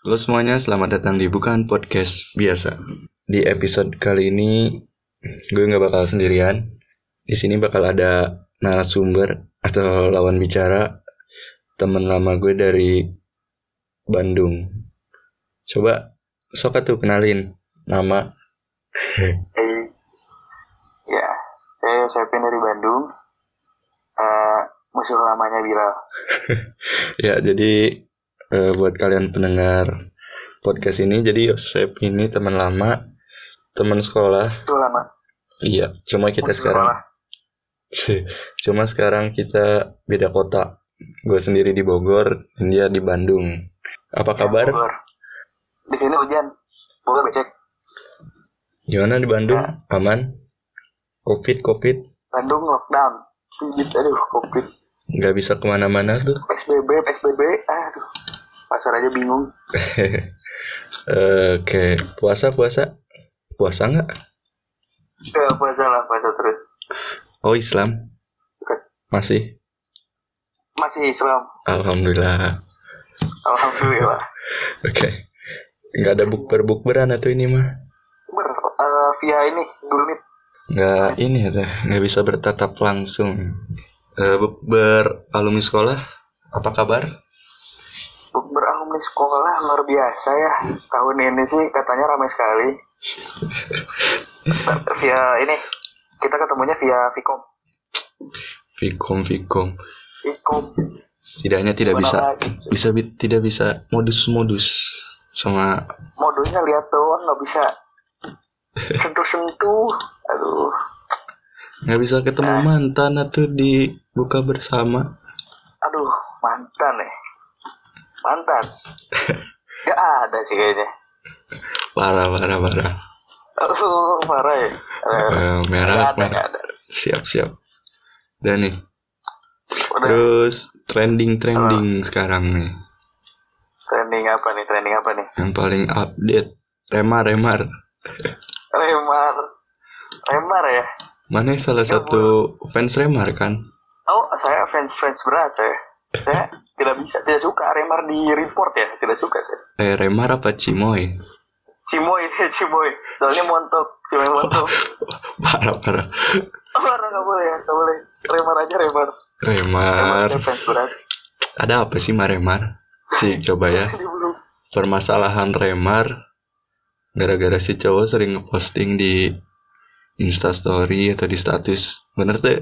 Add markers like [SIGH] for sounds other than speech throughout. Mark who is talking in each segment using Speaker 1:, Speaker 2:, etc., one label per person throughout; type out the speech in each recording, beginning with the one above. Speaker 1: Halo semuanya, selamat datang di Bukan Podcast Biasa. Di episode kali ini, gue nggak bakal sendirian. Di sini bakal ada narasumber atau lawan bicara temen lama gue dari Bandung. Coba, sokat tuh kenalin nama.
Speaker 2: Hey. Ya, saya Sepin dari Bandung. Eh, musuh lamanya Bilal.
Speaker 1: ya, jadi eh, buat kalian pendengar podcast ini, jadi Yosep ini teman lama, teman sekolah.
Speaker 2: Musuh lama.
Speaker 1: Iya, cuma kita
Speaker 2: musuh
Speaker 1: sekarang
Speaker 2: sekolah.
Speaker 1: Cuma sekarang kita beda kota. Gue sendiri di Bogor, dia di Bandung. Apa kabar?
Speaker 2: Bogor. Di sini hujan. Bogor becek.
Speaker 1: Gimana di Bandung? Aman? Covid, Covid?
Speaker 2: Bandung lockdown. Pijit, aduh, covid.
Speaker 1: Nggak bisa kemana-mana tuh. [LAUGHS]
Speaker 2: PSBB, PSBB, aduh. Pasar aja bingung.
Speaker 1: Eh, Oke, puasa, puasa? Puasa nggak?
Speaker 2: Ya, puasa lah, puasa terus.
Speaker 1: Oh Islam?
Speaker 2: Terus.
Speaker 1: Masih?
Speaker 2: Masih Islam,
Speaker 1: Alhamdulillah.
Speaker 2: alhamdulillah.
Speaker 1: Oke. Nggak ada bukber-bukberan atau ini mah?
Speaker 2: Ber, eh, via ini, dulu nih.
Speaker 1: Nggak ini ya, teh. nggak bisa bertatap langsung. Eh, bukber alumni sekolah? Apa kabar?
Speaker 2: Beralumni sekolah luar biasa ya. Tahun ini sih katanya ramai sekali. via ini kita ketemunya via Vicom.
Speaker 1: Vicom, Vicom.
Speaker 2: Vicom.
Speaker 1: setidaknya tidak
Speaker 2: Mana
Speaker 1: bisa
Speaker 2: lagi, cuy?
Speaker 1: bisa bi- tidak bisa modus-modus sama
Speaker 2: Modusnya lihat doang nggak bisa sentuh-sentuh. Aduh.
Speaker 1: nggak bisa ketemu
Speaker 2: Nah.
Speaker 1: mantan atau di buka bersama
Speaker 2: Aduh, mantan nih. Mantan. Gak ada sih kayaknya.
Speaker 1: parah parah parah
Speaker 2: Aduh, parah ya. Eh,
Speaker 1: Eh,
Speaker 2: nggak
Speaker 1: merah
Speaker 2: ada, nggak
Speaker 1: merah
Speaker 2: ada.
Speaker 1: siap siap dan nih
Speaker 2: Udah
Speaker 1: terus trending trending sekarang nih
Speaker 2: trending apa nih? Trending apa nih?
Speaker 1: yang paling update remar remar
Speaker 2: Remar. Remar ya.
Speaker 1: mana salah
Speaker 2: Ya,
Speaker 1: satu fans remar kan
Speaker 2: Oh, saya fans fans berat saya. Saya tidak bisa, tidak suka Remar di report ya, tidak suka saya.
Speaker 1: eh remar apa cimoy [LAUGHS]
Speaker 2: Cimoy, [LAUGHS] Cimoy. Soalnya montok, Cimoy montok.
Speaker 1: parah parah
Speaker 2: Orang nggak boleh, ya, nggak boleh. Remar aja Remar. Remar
Speaker 1: remar
Speaker 2: saya fans berat.
Speaker 1: ada apa sih maremar sih coba ya
Speaker 2: Di belum.
Speaker 1: permasalahan Remar gara-gara si cowok sering ngeposting di instastory atau di status bener tuh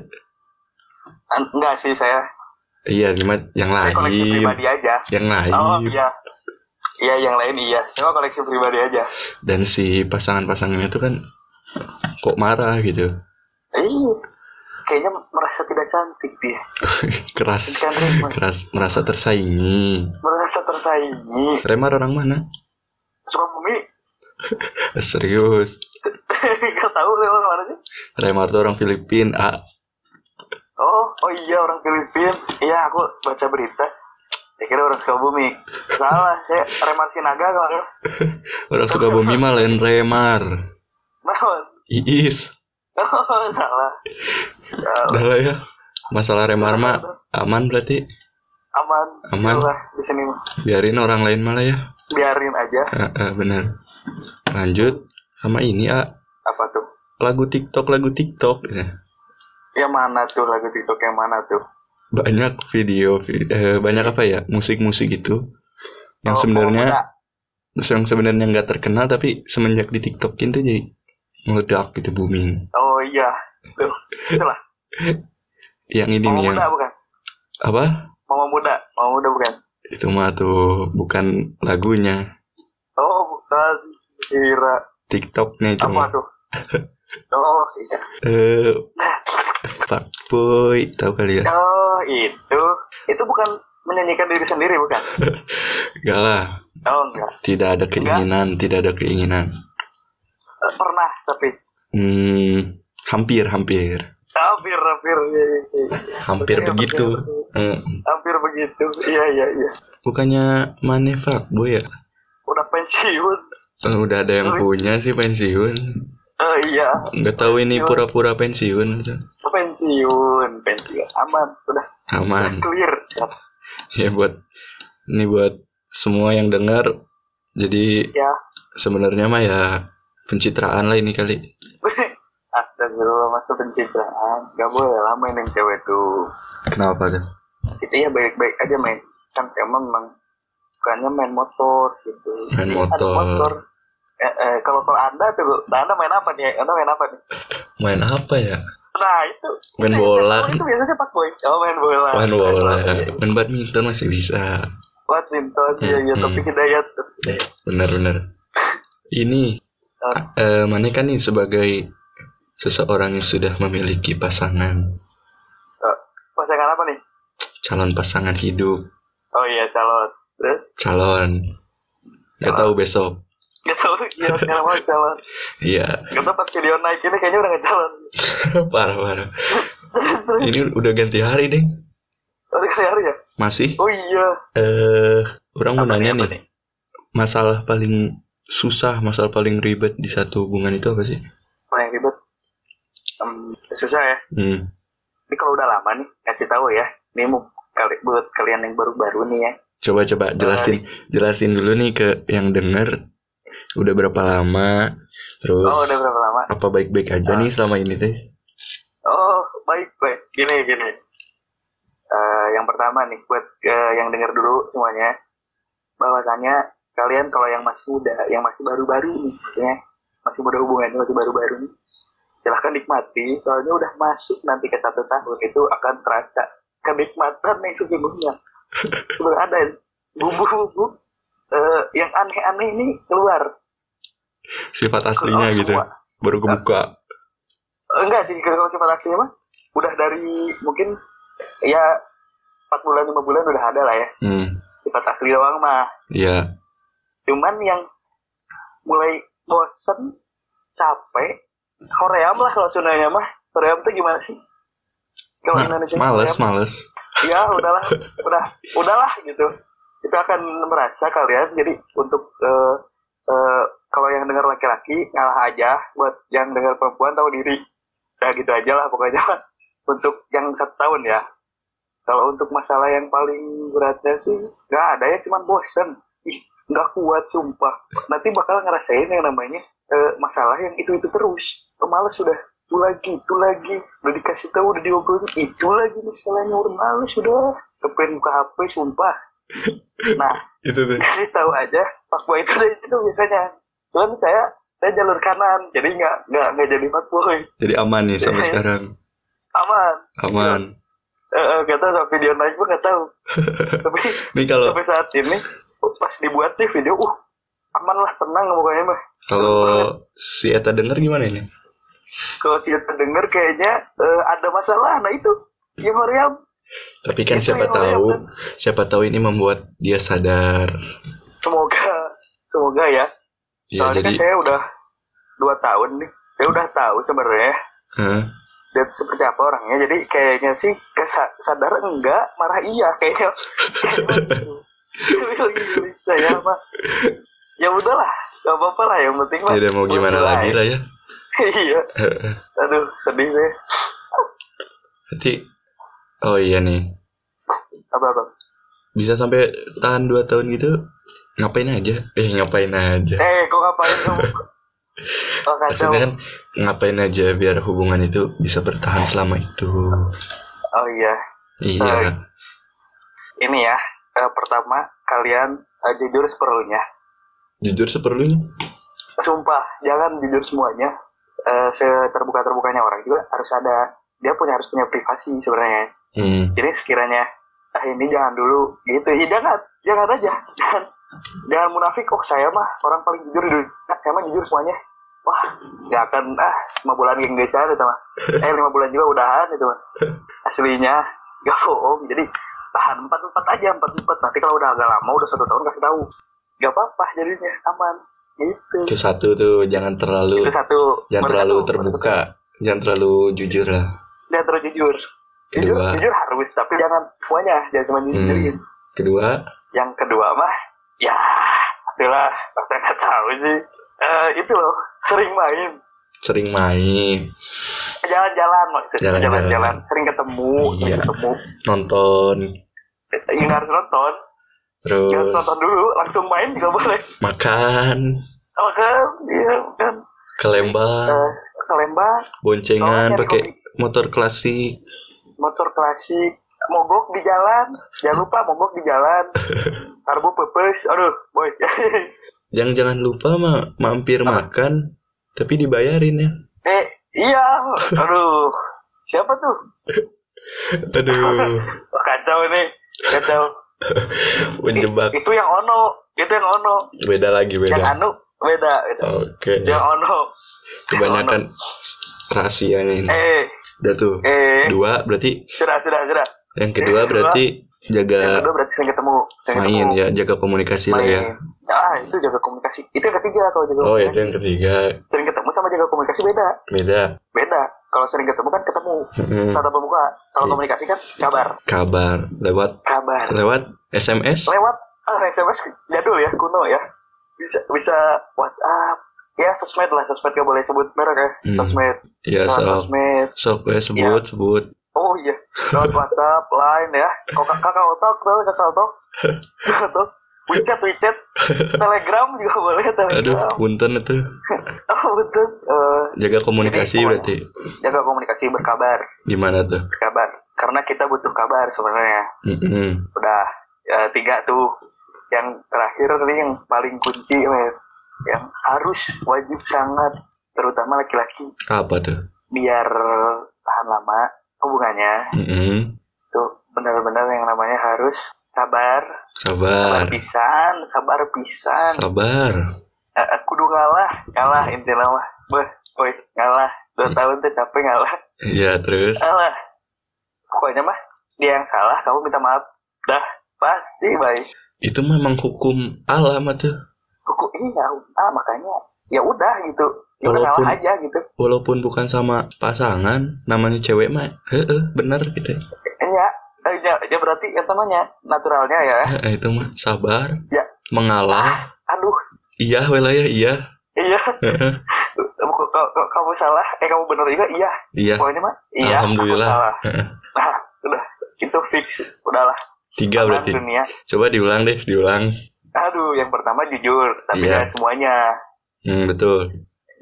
Speaker 2: An- Enggak sih saya,
Speaker 1: iya cuma yang
Speaker 2: saya koleksi
Speaker 1: lain
Speaker 2: pribadi aja.
Speaker 1: yang lain
Speaker 2: Oh iya, iya yang lain iya. Saya mah koleksi pribadi aja.
Speaker 1: dan si pasangan-pasangannya tuh kan kok marah gitu
Speaker 2: Ih, kayaknya merasa tidak cantik dia.
Speaker 1: keras [LAUGHS]
Speaker 2: Bukan Remar,
Speaker 1: keras merasa tersaingi
Speaker 2: merasa tersaingi.
Speaker 1: Remar orang mana Eh,
Speaker 2: Sukabumi, [LAUGHS]
Speaker 1: serius
Speaker 2: nggak tahu Remar mana sih?
Speaker 1: Remar tuh orang Filipin ah
Speaker 2: Oh, oh iya orang Filipin. Iya, aku baca berita. Saya kira orang Sukabumi. Salah, saya Remar Sinaga kalau
Speaker 1: orang Sukabumi mah lain Remar
Speaker 2: Mawon.
Speaker 1: Iis
Speaker 2: Oh, salah. Eh, Salah.
Speaker 1: dah lah ya masalah Remar mah aman berarti
Speaker 2: Aman,
Speaker 1: Aman.
Speaker 2: chill lah di sini mah.
Speaker 1: biarin orang lain malah ya
Speaker 2: Biarin aja.
Speaker 1: Ah, ah, benar. Lanjut sama ini ah
Speaker 2: Apa tuh?
Speaker 1: lagu TikTok lagu TikTok ya.
Speaker 2: Yang mana tuh lagu TikTok yang mana tuh?
Speaker 1: Banyak video vi- eh, banyak apa ya musik-musik gitu yang
Speaker 2: Oh,
Speaker 1: sebenarnya
Speaker 2: oh,
Speaker 1: yang sebenarnya nggak terkenal tapi semenjak di TikTok itu jadi meledak gitu booming.
Speaker 2: Oh iya. Tuh. Itulah.
Speaker 1: Yang ini
Speaker 2: Mama
Speaker 1: nih yang
Speaker 2: muda bukan?
Speaker 1: apa?
Speaker 2: Mama muda. Mama muda bukan?
Speaker 1: Itu mah tuh bukan lagunya
Speaker 2: Oh, bukan. Kira
Speaker 1: TikToknya itu.
Speaker 2: apa
Speaker 1: mah.
Speaker 2: tuh?
Speaker 1: [LAUGHS]
Speaker 2: Oh iya.
Speaker 1: Eh fuckboy tahu kali ya?
Speaker 2: Oh itu. Itu bukan menyanyikan diri sendiri bukan?
Speaker 1: Enggak lah,
Speaker 2: Oh enggak.
Speaker 1: tidak ada keinginan, tidak ada keinginan.
Speaker 2: Eh, Pernah tapi
Speaker 1: Hmm, hampir hampir.
Speaker 2: hampir hampir iya, iya, iya.
Speaker 1: hampir
Speaker 2: Percaya,
Speaker 1: begitu
Speaker 2: percaya, percaya.
Speaker 1: Eh,
Speaker 2: Hampir begitu. Iya iya iya.
Speaker 1: bukannya Mane fuckboy ya
Speaker 2: Udah pensiun.
Speaker 1: Eh, udah ada yang
Speaker 2: Terus?
Speaker 1: punya sih pensiun
Speaker 2: Oh iya,
Speaker 1: nggak tahu ini pura-pura pensiun
Speaker 2: pensiun, pensiun. Aman, udah
Speaker 1: aman
Speaker 2: clear. Siap.
Speaker 1: ya buat ini buat semua yang dengar Jadi
Speaker 2: ya [LAUGHS]
Speaker 1: sebenarnya mah ya pencitraan lah ini kali.
Speaker 2: Astagfirullah masa pencitraan Gak boleh lah mainin cewek tuh
Speaker 1: Kenapa tuh?
Speaker 2: Kita ya baik-baik aja main Kan saya memang Bukannya main motor gitu
Speaker 1: Main
Speaker 2: Jadi, ada
Speaker 1: motor.
Speaker 2: motor. Eh, eh, Kalau kalau anda tuh Anda main apa nih? Anda main apa nih?
Speaker 1: Main apa ya?
Speaker 2: Nah itu
Speaker 1: Main
Speaker 2: itu-
Speaker 1: bola.
Speaker 2: Itu biasanya pak boy Oh main bola
Speaker 1: Main bola.
Speaker 2: iya.
Speaker 1: Main badminton masih bisa.
Speaker 2: Badminton Iya iya
Speaker 1: Hmm.
Speaker 2: tapi hidayat
Speaker 1: Bener-bener. Ini
Speaker 2: Eh,
Speaker 1: eh, mana kan nih sebagai seseorang yang sudah memiliki pasangan,
Speaker 2: eh, Pasangan apa nih?
Speaker 1: calon pasangan hidup,
Speaker 2: Oh iya calon Terus
Speaker 1: calon. Gak tahu besok.
Speaker 2: Gak tau Iya sekarang mau calon
Speaker 1: Iya, [LAUGHS]
Speaker 2: Gak tau pas video naik ini Kayaknya udah gak calon
Speaker 1: parah-parah.
Speaker 2: Terus terus
Speaker 1: Ini udah ganti hari deh.
Speaker 2: Tadi kali hari ya
Speaker 1: Masih?
Speaker 2: Oh iya
Speaker 1: Eh, orang mau
Speaker 2: Apa
Speaker 1: nanya
Speaker 2: apa
Speaker 1: nih, masalah paling susah, masalah paling ribet di satu hubungan itu apa sih?
Speaker 2: Mana yang ribet? Em, susah ya.
Speaker 1: Hmm,
Speaker 2: Ini kalau udah lama nih, kasih tahu ya. Ini mau kali, buat kalian yang baru-baru nih ya.
Speaker 1: coba-coba jelasin, jelasin dulu nih ke yang denger, udah berapa lama, terus
Speaker 2: Oh, udah berapa lama?
Speaker 1: apa baik-baik aja
Speaker 2: Nah.
Speaker 1: nih selama ini teh?
Speaker 2: Oh, baik, baik. Gini, gini. Eh, yang pertama nih, buat eh, yang denger dulu semuanya. Bahwasannya, kalian kalau yang masih muda, yang masih baru-baru nih, maksudnya masih muda hubungannya, masih baru-baru nih, silahkan nikmati, soalnya udah masuk nanti ke satu tahun, itu akan terasa kenikmatan nih sesungguhnya. Berada bumbu-bumbu eh, yang aneh-aneh ini keluar.
Speaker 1: Sifat aslinya
Speaker 2: Keluar
Speaker 1: gitu,
Speaker 2: semua.
Speaker 1: baru kebuka.
Speaker 2: enggak sih kalau sifat aslinya mah udah dari mungkin ya empat bulan lima bulan udah ada lah ya
Speaker 1: Hmm,
Speaker 2: sifat asli doang mah
Speaker 1: ya,
Speaker 2: cuman yang mulai bosen capek koream lah kalau sunanya mah koream tuh gimana sih kalau Indonesia
Speaker 1: males,
Speaker 2: Koream,
Speaker 1: males.
Speaker 2: ya udahlah udah udahlah gitu itu akan merasa kalian jadi untuk eh, eh, kalau yang dengar laki-laki ngalah aja buat yang dengar perempuan tahu diri ya gitu aja lah pokoknya [LAUGHS] untuk yang satu tahun ya kalau untuk masalah yang paling beratnya sih nggak ada ya cuman bosen ih nggak kuat sumpah nanti bakal ngerasain yang namanya eh, masalah yang itu itu terus Eh, males sudah itu lagi itu lagi udah dikasih tahu udah diobrolin itu lagi masalahnya udah males sudah kepen buka hp sumpah nah [LAUGHS]
Speaker 1: Itu tuh.
Speaker 2: kasih tahu aja fuckboy itu itu biasanya cuman saya saya jalur kanan jadi nggak nggak nggak jadi fuckboy
Speaker 1: Jadi aman nih
Speaker 2: Iya.
Speaker 1: sampai sekarang,
Speaker 2: aman
Speaker 1: aman.
Speaker 2: Eh, eh, nggak tahu sama video naik gue nggak tahu tapi
Speaker 1: Nih kalau
Speaker 2: sampai saat ini pas dibuat nih video uh aman lah tenang pokoknya mah
Speaker 1: kalau si Eta denger gimana ini?
Speaker 2: kalau sih terdengar kayaknya eh, ada masalah nah itu yang Hoream
Speaker 1: Tapi kan
Speaker 2: Itu
Speaker 1: siapa
Speaker 2: Iya, yang orang
Speaker 1: tahu, siapa tahu ini membuat dia sadar.
Speaker 2: semoga semoga ya
Speaker 1: Ya
Speaker 2: soalnya kan
Speaker 1: jadi,
Speaker 2: saya udah dua tahun nih saya udah tahu sebenarnya
Speaker 1: Hah?
Speaker 2: dia tuh seperti apa orangnya jadi kayaknya sih kesa- sadar enggak marah iya
Speaker 1: [LAUGHS]
Speaker 2: kayaknya Kayak gitu. saya mah ya udahlah gak apa-apa lah yang penting mah
Speaker 1: ya udah mau gimana
Speaker 2: mulai.
Speaker 1: lagi lah ya.
Speaker 2: [LAUGHS] iya aduh sedih deh
Speaker 1: Nanti, oh iya nih,
Speaker 2: apa apa
Speaker 1: bisa sampai tahan 2 tahun gitu, ngapain aja? Eh ngapain aja?
Speaker 2: eh kok ngapain
Speaker 1: [LAUGHS]
Speaker 2: kamu oh kacau
Speaker 1: Maksudnya kan ngapain aja biar hubungan itu bisa bertahan selama itu.
Speaker 2: oh iya
Speaker 1: Iya,
Speaker 2: ini ya eh, pertama kalian eh, jujur seperlunya
Speaker 1: jujur seperlunya.
Speaker 2: sumpah jangan jujur semuanya Eh seterbuka terbukanya orang juga harus ada dia punya harus punya privasi sebenarnya
Speaker 1: Hmm.
Speaker 2: jadi sekiranya ah ini jangan dulu gitu ya jangan jangan aja jangan jangan munafik oh saya mah orang paling jujur di dunia Nah, saya mah jujur semuanya wah nggak akan ah lima bulan geng desa itu
Speaker 1: [LAUGHS]
Speaker 2: mah eh lima bulan juga udahan itu mah aslinya gak bohong jadi tahan empat empat aja empat empat nanti kalau udah agak lama udah satu tahun kasih tahu gak apa apa jadinya aman gitu
Speaker 1: Itu satu tuh jangan terlalu,
Speaker 2: itu satu
Speaker 1: jangan
Speaker 2: baru
Speaker 1: terlalu
Speaker 2: satu.
Speaker 1: terbuka, jangan terlalu jujur lah.
Speaker 2: jangan terlalu jujur jujur
Speaker 1: Kedua.
Speaker 2: jujur harus tapi jangan semuanya jangan cuma jujur gitu.
Speaker 1: Hmm. Kedua,
Speaker 2: yang kedua mah ya itulah masa nggak tahu sih Eh, itu loh sering main
Speaker 1: sering main,
Speaker 2: jalan-jalan maksudnya
Speaker 1: Jalan-jalan.
Speaker 2: jalan-jalan sering ketemu sering
Speaker 1: Iya.
Speaker 2: ketemu
Speaker 1: nonton,
Speaker 2: Eh, nggak harus nonton Jangan
Speaker 1: terus
Speaker 2: nonton dulu, langsung main juga boleh.
Speaker 1: makan,
Speaker 2: Kalau kan, iya kan.
Speaker 1: ke Lembang,
Speaker 2: Eh, ke Lembang,
Speaker 1: boncengan
Speaker 2: Soalnya
Speaker 1: pakai
Speaker 2: nyari
Speaker 1: motor klasik.
Speaker 2: motor klasik, mogok di jalan. Jangan lupa mogok di
Speaker 1: [LAUGHS]
Speaker 2: jalan. Karbo pepes, aduh, boy. [LAUGHS]
Speaker 1: Yang jangan lupa mah mampir makan tapi dibayarin
Speaker 2: [LAUGHS]
Speaker 1: ya.
Speaker 2: eh, iya, aduh. Siapa tuh?
Speaker 1: Aduh,
Speaker 2: Wah, kacau ini, kacau.
Speaker 1: menjebak.
Speaker 2: Itu yang ono, itu yang ono.
Speaker 1: Beda lagi
Speaker 2: Yang
Speaker 1: beda.
Speaker 2: anu beda. Gitu.
Speaker 1: Oke.
Speaker 2: Yang ono.
Speaker 1: Kebanyakan rahasianya ini.
Speaker 2: Eh,
Speaker 1: Udah tuh.
Speaker 2: eh.
Speaker 1: Dua berarti
Speaker 2: Sudah, sudah, sudah.
Speaker 1: yang kedua
Speaker 2: Yang kedua.
Speaker 1: berarti
Speaker 2: Yang
Speaker 1: jaga
Speaker 2: kedua berarti sering ketemu. Sering
Speaker 1: Eh, main
Speaker 2: ketemu.
Speaker 1: ya, jaga komunikasi lah
Speaker 2: main.
Speaker 1: ya.
Speaker 2: Ah, itu jaga komunikasi. Itu yang ketiga kalau jaga
Speaker 1: Oh, itu
Speaker 2: komunikasi.
Speaker 1: yang ketiga.
Speaker 2: Sering ketemu sama jaga komunikasi beda.
Speaker 1: Beda.
Speaker 2: Beda. Kalau sering ketemu kan ketemu.
Speaker 1: Mm-mm.
Speaker 2: Tatap muka.
Speaker 1: Hmm.
Speaker 2: Kalau
Speaker 1: Iya. Nah.
Speaker 2: komunikasi kan kabar.
Speaker 1: Kabar lewat
Speaker 2: Kabar.
Speaker 1: lewat SMS.
Speaker 2: Lewat ah, SMS jadul ya, kuno ya. Bisa bisa WhatsApp. Ya, sosmed lah. Sosmed gak boleh sebut merek ya.
Speaker 1: Hmm.
Speaker 2: Sosmed.
Speaker 1: Ya,
Speaker 2: Lewat
Speaker 1: so,
Speaker 2: sosmed.
Speaker 1: so
Speaker 2: Iya.
Speaker 1: gue sebut sebut.
Speaker 2: Oh iya, lewat WhatsApp, Line ya. Kok kak kakak otok, tahu kakak otok, kakak otok. WeChat, WeChat, Telegram juga boleh
Speaker 1: Aduh,
Speaker 2: Telegram.
Speaker 1: punten itu.
Speaker 2: [LAUGHS] Oh betul. Eh,
Speaker 1: Jaga komunikasi
Speaker 2: Iya.
Speaker 1: berarti
Speaker 2: Jadi, jaga komunikasi berkabar,
Speaker 1: gimana tuh?
Speaker 2: berkabar. Karena kita butuh kabar sebenarnya.
Speaker 1: Mm-mm.
Speaker 2: Udah eh, tiga tuh. Yang terakhir nih yang paling kunci, men. yang harus wajib sangat, terutama laki-laki,
Speaker 1: Apa tuh?
Speaker 2: biar tahan lama hubungannya.
Speaker 1: Mm-mm.
Speaker 2: Tuh benar-benar yang namanya harus sabar, sabar
Speaker 1: Sabar,
Speaker 2: pisan, sabar pisan.
Speaker 1: sabar.
Speaker 2: Eh, eh, kudu ngalah, ngalah intinya mah. Beh, woi, ngalah. Dua
Speaker 1: Hmm.
Speaker 2: tahun tuh capek ngalah,
Speaker 1: Ya terus
Speaker 2: ngalah. Pokoknya mah dia yang salah, kamu minta maaf. Dah, pasti baik.
Speaker 1: itu memang hukum alam tuh.
Speaker 2: Kok iya, ah makanya ya udah gitu. Ya udah
Speaker 1: Walaupun-
Speaker 2: ngalah aja gitu.
Speaker 1: Walaupun bukan sama pasangan, namanya cewek mah, heeh, bener gitu.
Speaker 2: Eh, Ya, eh, ya, ya berarti yang namanya naturalnya ya.
Speaker 1: Heeh, itu mah sabar,
Speaker 2: Ya.
Speaker 1: mengalah.
Speaker 2: Aduh,
Speaker 1: Iya, wilayah iya.
Speaker 2: iya.
Speaker 1: Heeh.
Speaker 2: Kok- kok- kok Kamu salah, eh kamu bener juga, iya.
Speaker 1: iya.
Speaker 2: Pokoknya mah, iya. aku
Speaker 1: Alhamdulillah.
Speaker 2: salah.
Speaker 1: Heeh.
Speaker 2: Nah, udah. Itu fix, udahlah.
Speaker 1: Tiga
Speaker 2: Tangan
Speaker 1: Ah, berarti.
Speaker 2: dunia.
Speaker 1: Coba diulang deh, diulang.
Speaker 2: Aduh, yang pertama jujur, tapi
Speaker 1: Iya.
Speaker 2: jangan semuanya.
Speaker 1: Hmm, betul.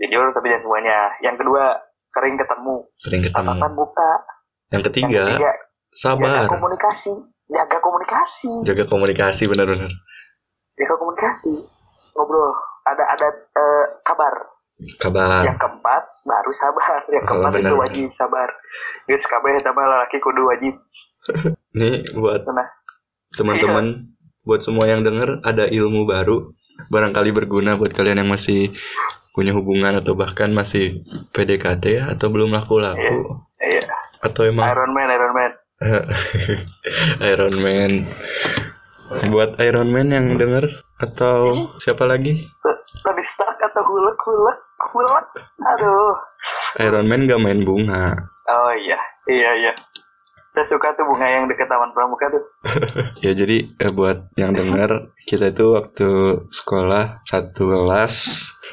Speaker 2: Jujur, tapi jangan semuanya. Yang kedua, sering ketemu.
Speaker 1: Sering
Speaker 2: Tatapan
Speaker 1: ketemu.
Speaker 2: muka.
Speaker 1: Yang
Speaker 2: Yang
Speaker 1: ketiga,
Speaker 2: ketiga,
Speaker 1: Iya,
Speaker 2: jaga
Speaker 1: sabar. Iya.
Speaker 2: komunikasi. Jaga komunikasi.
Speaker 1: Jaga komunikasi benar-benar.
Speaker 2: Jaga komunikasi. Ngobrol. Ada ada eh, kabar.
Speaker 1: Kabar.
Speaker 2: Yang keempat, baru sabar. Yang
Speaker 1: Oh,
Speaker 2: keempat
Speaker 1: benar,
Speaker 2: itu
Speaker 1: Ah. benar.
Speaker 2: wajib sabar. Guys, kabeh tambah laki kudu wajib.
Speaker 1: Nih buat
Speaker 2: Nah,
Speaker 1: teman-teman buat semua yang denger ada ilmu baru barangkali berguna buat kalian yang masih punya hubungan atau bahkan masih PDKT ya, atau belum laku-laku
Speaker 2: iya.
Speaker 1: atau emang
Speaker 2: Iron Man, Iron Man.
Speaker 1: [LAUGHS] Iron Man buat Iron Man yang denger atau siapa lagi
Speaker 2: Tony Stark atau Hulk, Hulk, Hulk. Aduh.
Speaker 1: Iron Man gak main bunga
Speaker 2: Oh iya, iya iya. Saya suka tuh bunga yang deket Taman Pramuka tuh.
Speaker 1: ya jadi eh, buat yang denger kita itu waktu sekolah satu kelas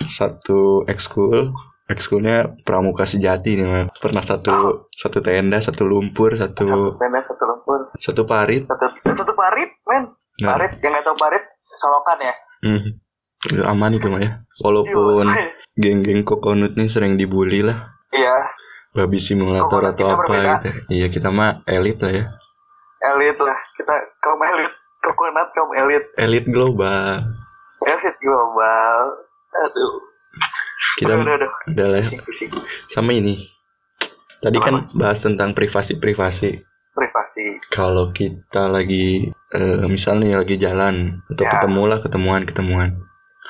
Speaker 1: satu ekskul ekskulnya pramuka sejati nih Mas. pernah satu satu tenda satu lumpur
Speaker 2: Satu
Speaker 1: satu
Speaker 2: tenda, satu lumpur,
Speaker 1: satu parit
Speaker 2: satu satu parit, men.
Speaker 1: Nah,
Speaker 2: Parit yang nggak tahu parit, solokan ya.
Speaker 1: mm, itu aman itu mah ya walaupun
Speaker 2: Jiwa.
Speaker 1: geng-geng kokonut nih sering dibully lah
Speaker 2: [LAUGHS] Iya,
Speaker 1: babi simulator
Speaker 2: Kokonut
Speaker 1: atau
Speaker 2: kita
Speaker 1: apa
Speaker 2: berbeda.
Speaker 1: gitu iya kita mah elit lah ya
Speaker 2: elit lah. Kita kaum elit, kokonat kaum elit,
Speaker 1: elit global
Speaker 2: elit global. Aduh.
Speaker 1: kita
Speaker 2: aduh, aduh, aduh.
Speaker 1: adalah
Speaker 2: Pusing, pusing.
Speaker 1: sama ini tadi kan bahas tentang privasi privasi
Speaker 2: Privasi.
Speaker 1: kalau kita lagi eh, misalnya lagi jalan atau
Speaker 2: Ya.
Speaker 1: ketemulah ketemuan ketemuan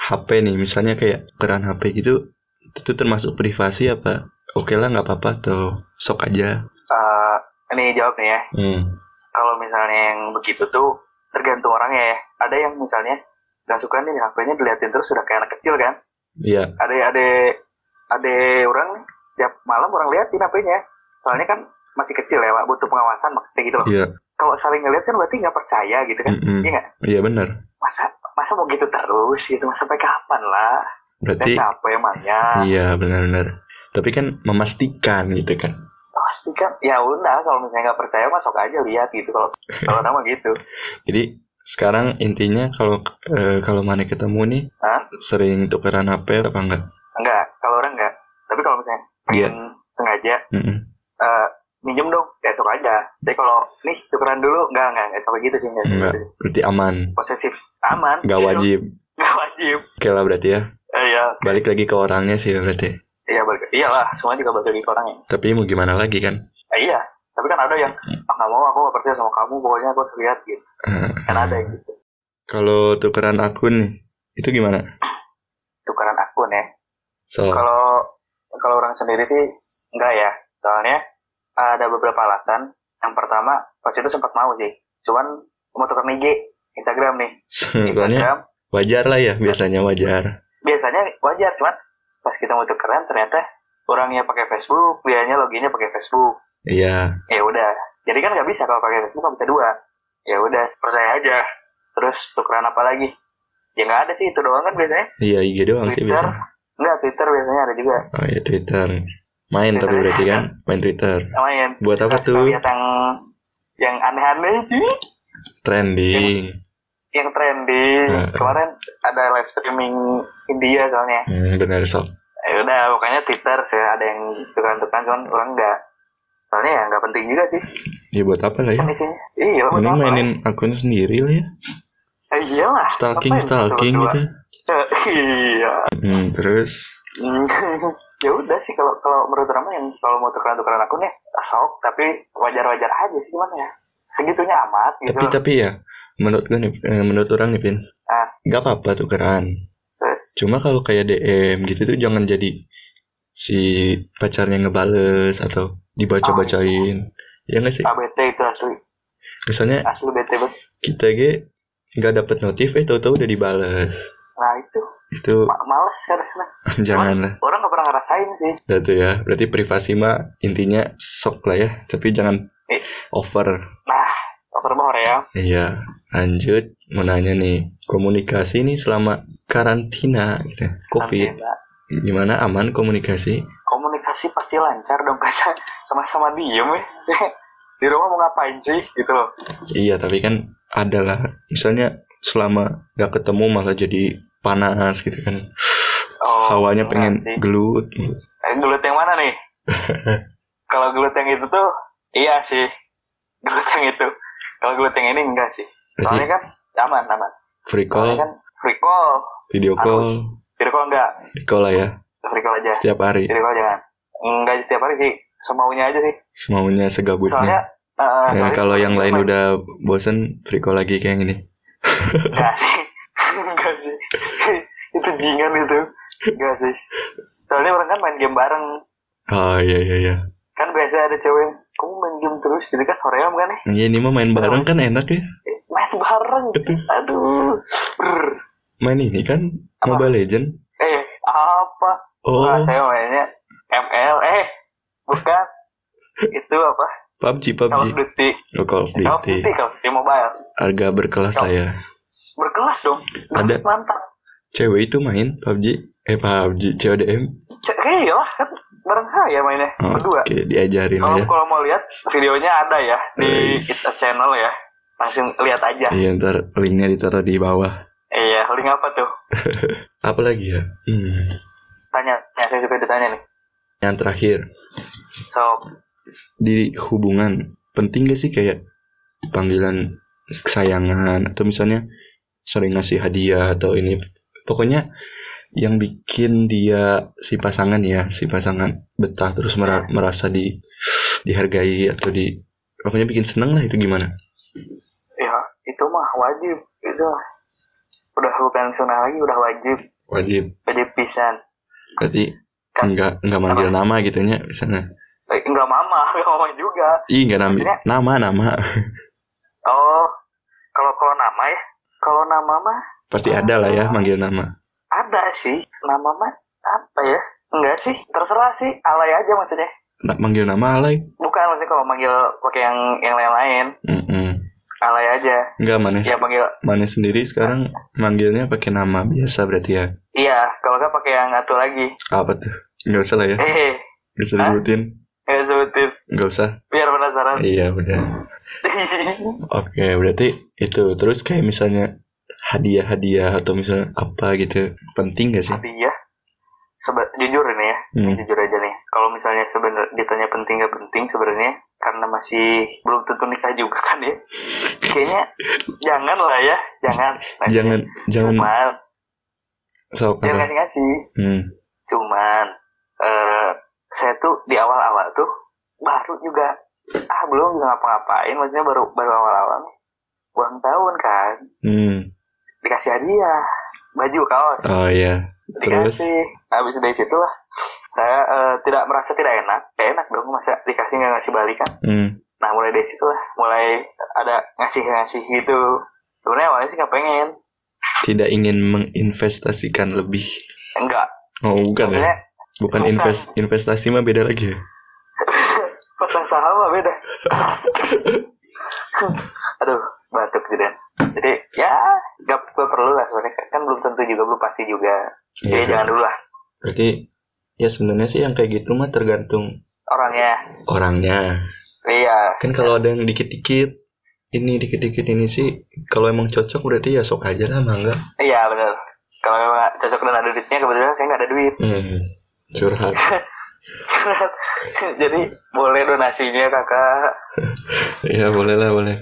Speaker 1: HP nih misalnya kayak keran HP gitu itu termasuk privasi apa oke lah nggak apa-apa atau sok aja
Speaker 2: Eh, ini jawab nih ya.
Speaker 1: hmm.
Speaker 2: Kalau misalnya yang begitu tuh tergantung orangnya ya. Ada yang misalnya nggak suka nih HP-nya diliatin terus sudah kayak anak kecil kan.
Speaker 1: iya
Speaker 2: ada ada ada orang nih, tiap malam orang liatin HP-nya. Soalnya kan masih kecil ya, Pak, butuh pengawasan maksudnya gitu loh.
Speaker 1: iya
Speaker 2: Kalau saling ngeliat kan berarti nggak percaya gitu kan.
Speaker 1: mm-mm.
Speaker 2: Iya nggak?
Speaker 1: iya benar
Speaker 2: Masa masa mau gitu terus gitu, masa sampai kapan lah? Dan
Speaker 1: berarti
Speaker 2: capek emangnya.
Speaker 1: iya benar-benar tapi kan memastikan gitu kan
Speaker 2: Pasti kan, ya udah kalau misalnya nggak percaya masuk aja lihat gitu kalau kalau nama gitu.
Speaker 1: jadi Sekarang intinya kalau eh, kalau mana ketemu nih
Speaker 2: Hah?
Speaker 1: sering tukeran HP apa enggak?
Speaker 2: Enggak, kalau orang enggak. Tapi kalau misalnya
Speaker 1: Iya.
Speaker 2: pengen sengaja
Speaker 1: Mm-mm.
Speaker 2: eh minjem dong besok aja. Tapi kalau nih tukeran dulu enggak enggak enggak sampai gitu sih enggak.
Speaker 1: Enggak.
Speaker 2: Gitu.
Speaker 1: Berarti aman.
Speaker 2: Posesif, aman.
Speaker 1: Enggak
Speaker 2: [LAUGHS]
Speaker 1: wajib.
Speaker 2: Enggak wajib.
Speaker 1: Oke lah berarti ya.
Speaker 2: Eh, Iya,
Speaker 1: Balik lagi ke orangnya sih berarti.
Speaker 2: iya balik. Iyalah, semua juga balik lagi ke orangnya.
Speaker 1: Tapi mau gimana lagi kan?
Speaker 2: Eh, iya, tapi kan ada yang ah nggak mau aku nggak percaya sama kamu, pokoknya aku harus lihat gitu.
Speaker 1: Eh,
Speaker 2: Kan ada yang gitu.
Speaker 1: Kalau tukeran akun nih itu gimana?
Speaker 2: Tukeran akun ya.
Speaker 1: So,
Speaker 2: Kalau kalau orang sendiri sih enggak ya. Soalnya ada beberapa alasan. Yang pertama, pas itu sempat mau sih. Cuman mau tukar IG, Instagram nih.
Speaker 1: [LAUGHS] soalnya
Speaker 2: Instagram
Speaker 1: wajar lah ya, biasanya wajar.
Speaker 2: biasanya wajar, cuman pas kita mau tukeran ternyata orangnya pakai Facebook, dianya loginnya pakai Facebook.
Speaker 1: Iya,
Speaker 2: Ya udah. Jadi kan nggak bisa kalau pakai Facebook nggak bisa dua. Ya udah, percaya aja. Terus tukeran apa lagi? Ya nggak ada sih itu doang kan biasanya.
Speaker 1: iya IG doang sih
Speaker 2: Twitter.
Speaker 1: biasanya.
Speaker 2: Enggak, Twitter biasanya ada juga.
Speaker 1: Oh iya Twitter. Main tapi
Speaker 2: Twitter.
Speaker 1: berarti kan main Twitter.
Speaker 2: Sama yang
Speaker 1: Buat apa
Speaker 2: suka
Speaker 1: tuh?
Speaker 2: lihat yang yang aneh-aneh itu
Speaker 1: Trending.
Speaker 2: yang trending
Speaker 1: Heeh.
Speaker 2: kemarin ada live streaming India soalnya
Speaker 1: Hmm, benar sob.
Speaker 2: ya udah pokoknya Twitter sih ada yang tukeran-tukeran cuman orang enggak soalnya ya nggak penting juga sih
Speaker 1: Ya buat apa lah ya?
Speaker 2: kan isinya iya lah
Speaker 1: Mending mainin akun sendiri lah ya.
Speaker 2: eh, iya lah
Speaker 1: Stalking stalking gitu.
Speaker 2: iya [LAUGHS]
Speaker 1: Hmm, terus
Speaker 2: ya udah sih kalau kalau menurut Rama yang kalau mau tukeran-tukeran akunnya sok tapi wajar-wajar aja sih cuman ya segitunya amat gitu
Speaker 1: tapi
Speaker 2: loh.
Speaker 1: tapi ya menurut gue nih, eh, menurut orang nih Pin.
Speaker 2: Ah.
Speaker 1: Gak apa-apa tukeran.
Speaker 2: terus
Speaker 1: Cuma kalau kayak DM gitu tuh jangan jadi si pacarnya ngebales atau dibaca-bacain. Ya nggak sih?
Speaker 2: ah, bete itu asli
Speaker 1: Misalnya
Speaker 2: asli bete banget
Speaker 1: kita ge nggak dapet notif eh tahu-tahu udah dibales.
Speaker 2: nah itu
Speaker 1: Itu [LAUGHS]
Speaker 2: ma- males karena
Speaker 1: janganlah.
Speaker 2: orang nggak pernah ngerasain sih
Speaker 1: Ya tuh ya, berarti privasi mah intinya sok lah ya, tapi jangan
Speaker 2: Eh.
Speaker 1: over.
Speaker 2: nah over more ya
Speaker 1: Iya, lanjut mau nanya nih, komunikasi nih selama karantina gitu, Covid,
Speaker 2: Karantina.
Speaker 1: gimana aman komunikasi?
Speaker 2: nah, komunikasi pasti lancar dong [LAUGHS] karena sama-sama diem ya [LAUGHS] di rumah mau ngapain sih gitu loh
Speaker 1: Iya, tapi kan adalah misalnya selama gak ketemu malah jadi panas gitu kan.
Speaker 2: oh,
Speaker 1: Hawanya
Speaker 2: enggak
Speaker 1: pengen
Speaker 2: sih.
Speaker 1: gelut. gitu.
Speaker 2: Eh, gelut yang mana
Speaker 1: [LAUGHS]
Speaker 2: nih kalau gelut yang itu tuh iya sih gelut yang itu kalau gelut yang ini enggak sih soalnya
Speaker 1: Berarti
Speaker 2: kan aman aman
Speaker 1: free
Speaker 2: soalnya
Speaker 1: call,
Speaker 2: kan free call
Speaker 1: video
Speaker 2: harus.
Speaker 1: call,
Speaker 2: free call enggak
Speaker 1: free call lah ya
Speaker 2: free call aja
Speaker 1: setiap hari.
Speaker 2: free call jangan enggak tiap hari sih semaunya aja sih
Speaker 1: Semaunya segabutnya.
Speaker 2: soalnya eh,
Speaker 1: Ya,
Speaker 2: soalnya-
Speaker 1: kalau yang lain udah bosen, free call lagi kayak gini.
Speaker 2: Enggak sih. [LAUGHS] Enggak sih. [LAUGHS] itu jingan itu. Enggak sih. Soalnya orang kan main game bareng.
Speaker 1: Oh iya iya iya.
Speaker 2: Kan biasa ada cewek, kamu main game terus. Jadi kan hoream kan ya.
Speaker 1: Iya ini mah main bareng kan enak ya.
Speaker 2: Eh, Main bareng. sih. Aduh. Brr.
Speaker 1: Main ini kan
Speaker 2: Apa?
Speaker 1: Mobile Legend.
Speaker 2: Eh, apa?
Speaker 1: Oh,
Speaker 2: Wah, saya mainnya ML. Eh, bukan.
Speaker 1: [LAUGHS]
Speaker 2: itu apa?
Speaker 1: PUBG
Speaker 2: Call of
Speaker 1: PUBG.
Speaker 2: Duty.
Speaker 1: Oh, Call of
Speaker 2: Call of Duty,
Speaker 1: Duty.
Speaker 2: Call of Duty Mobile.
Speaker 1: Harga berkelas lah ya.
Speaker 2: Berkelas dong.
Speaker 1: Ada.
Speaker 2: Mantap.
Speaker 1: Cewek itu main PUBG. Eh PUBG CODM.
Speaker 2: Cek, iya lah. Kan bareng saya mainnya.
Speaker 1: Oh,
Speaker 2: Berdua.
Speaker 1: Oke, diajarin ya.
Speaker 2: Kalau
Speaker 1: aja.
Speaker 2: kalau mau lihat videonya ada ya di
Speaker 1: Nice.
Speaker 2: kita channel ya. Langsung lihat aja.
Speaker 1: Iya ntar linknya ditaruh di bawah.
Speaker 2: Iya, link apa tuh?
Speaker 1: Apa lagi ya? Hmm.
Speaker 2: Tanya, ya, saya suka ditanya nih.
Speaker 1: Yang terakhir
Speaker 2: So,
Speaker 1: di hubungan penting gak sih kayak panggilan kesayangan atau misalnya sering ngasih hadiah atau ini pokoknya yang bikin dia si pasangan ya si pasangan betah terus mera- merasa di dihargai atau di pokoknya bikin seneng lah itu gimana
Speaker 2: ya itu mah wajib itu mah. udah bukan sunnah lagi, udah wajib,
Speaker 1: wajib
Speaker 2: wajib pisan.
Speaker 1: berarti enggak enggak manggil nama gitu nya misalnya
Speaker 2: Eh, enggak mama, [LAUGHS] enggak mama juga.
Speaker 1: ih enggak nama
Speaker 2: Maksudnya?
Speaker 1: nama nama
Speaker 2: Oh, kalau kalau nama ya, kalau nama mah
Speaker 1: pasti
Speaker 2: Ah.
Speaker 1: ada lah ya manggil nama
Speaker 2: ada sih. Nama mah apa ya? Enggak sih, terserah sih, alay aja maksudnya.
Speaker 1: nak manggil nama alay
Speaker 2: Bukan maksudnya kalau manggil pakai yang yang lain-lain,
Speaker 1: Mm-mm.
Speaker 2: alay aja.
Speaker 1: enggak mana
Speaker 2: Ya panggil
Speaker 1: Mane sendiri sekarang manggilnya pakai nama biasa berarti ya.
Speaker 2: Iya, kalau nggak pakai yang satu lagi.
Speaker 1: Apa tuh? Nggak usah lah ya.
Speaker 2: Eh,
Speaker 1: Bisa disebutin.
Speaker 2: nggak sebutin.
Speaker 1: Gak usah.
Speaker 2: biar penasaran
Speaker 1: Iya udah. Oke berarti itu terus kayak misalnya hadiah-hadiah atau misalnya apa gitu penting gak sih?
Speaker 2: [LAUGHS] tapi ya sebe- jujur ini ya ini
Speaker 1: Hmm.
Speaker 2: jujur aja nih kalau misalnya sebenarnya ditanya penting gak penting sebenarnya karena masih belum tentu nikah juga kan ya kayaknya jangan lah ya jangan
Speaker 1: Jangan jangan
Speaker 2: cuman
Speaker 1: sok
Speaker 2: jangan
Speaker 1: apa?
Speaker 2: ngasih ngasih
Speaker 1: Hmm.
Speaker 2: cuman eh saya tuh di awal-awal tuh baru juga ah belum juga ngapa-ngapain maksudnya baru baru awal-awal nih. ulang tahun kan
Speaker 1: Hmm.
Speaker 2: dikasih hadiah baju kaos
Speaker 1: Oh iya. Terus
Speaker 2: dikasih habis dari situ lah saya eh, tidak merasa tidak enak ya enak dong masa dikasih nggak ngasih balikan
Speaker 1: hmm.
Speaker 2: nah mulai dari situ lah mulai ada ngasih ngasih gitu sebenarnya awalnya sih nggak pengen
Speaker 1: tidak ingin menginvestasikan lebih.
Speaker 2: enggak
Speaker 1: Oh bukan ya?
Speaker 2: maksudnya
Speaker 1: Bukan
Speaker 2: bukan.
Speaker 1: invest investasi mah beda lagi ya.
Speaker 2: pasang saham lah
Speaker 1: [LAUGHS]
Speaker 2: beda aduh batuk gitu jadi ya nggak nggak perlu lah sebenarnya kan belum tentu juga belum pasti juga jadi
Speaker 1: Iya.
Speaker 2: jangan dulu lah
Speaker 1: Berarti ya sebenarnya sih yang kayak gitu mah tergantung
Speaker 2: orangnya
Speaker 1: orangnya.
Speaker 2: iya
Speaker 1: Kan kalau ada yang dikit-dikit ini dikit-dikit ini sih kalau emang cocok berarti ya sok aja lah mangga.
Speaker 2: iya benar kalau memang nggak cocok dan ada duitnya kebetulan saya nggak ada duit
Speaker 1: Hmm. Curhat.
Speaker 2: [LAUGHS] jadi boleh donasinya kakak
Speaker 1: ya boleh lah boleh.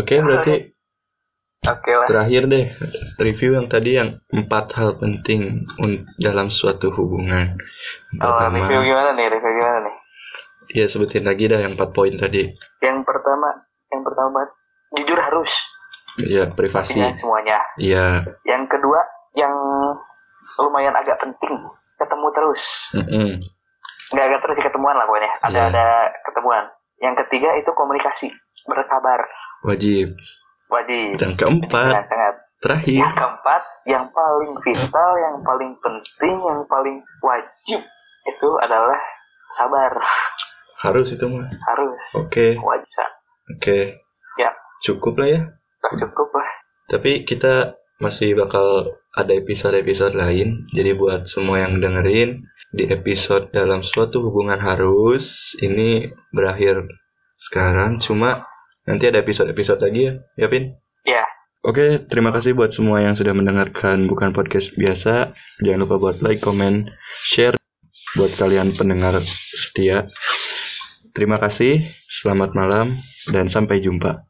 Speaker 1: Oke berarti
Speaker 2: oke lah
Speaker 1: terakhir deh review yang tadi yang empat hal penting un- dalam suatu hubungan. Yang
Speaker 2: oh,
Speaker 1: Pertama,
Speaker 2: review gimana nih review gimana nih
Speaker 1: ya sebutin lagi dah yang empat poin tadi.
Speaker 2: yang pertama yang pertama banget jujur harus
Speaker 1: Ya privasi.
Speaker 2: dengan semuanya
Speaker 1: Ya.
Speaker 2: yang kedua yang lumayan agak penting ketemu terus
Speaker 1: mm-mm.
Speaker 2: nggak agak terus sih ketemuan lah pokoknya ada
Speaker 1: Iya.
Speaker 2: ada ketemuan yang ketiga itu komunikasi berkabar
Speaker 1: Wajib.
Speaker 2: wajib
Speaker 1: Dan keempat Iya.
Speaker 2: Dengan sangat
Speaker 1: terakhir
Speaker 2: yang keempat yang paling vital yang paling penting yang paling wajib itu adalah sabar
Speaker 1: harus itu mah.
Speaker 2: harus
Speaker 1: Oke,
Speaker 2: wajib
Speaker 1: oke.
Speaker 2: Ya.
Speaker 1: Cukup lah ya.
Speaker 2: Udah cukup lah
Speaker 1: Tapi kita masih bakal ada episode-episode lain. Jadi buat semua yang dengerin di episode dalam suatu hubungan harus ini berakhir sekarang. Cuma nanti ada episode-episode lagi ya, ya Pin?
Speaker 2: Ya.
Speaker 1: Oke, terima kasih buat semua yang sudah mendengarkan bukan podcast biasa. Jangan lupa buat like, comment, share buat kalian pendengar setia. Terima kasih, selamat malam dan sampai jumpa.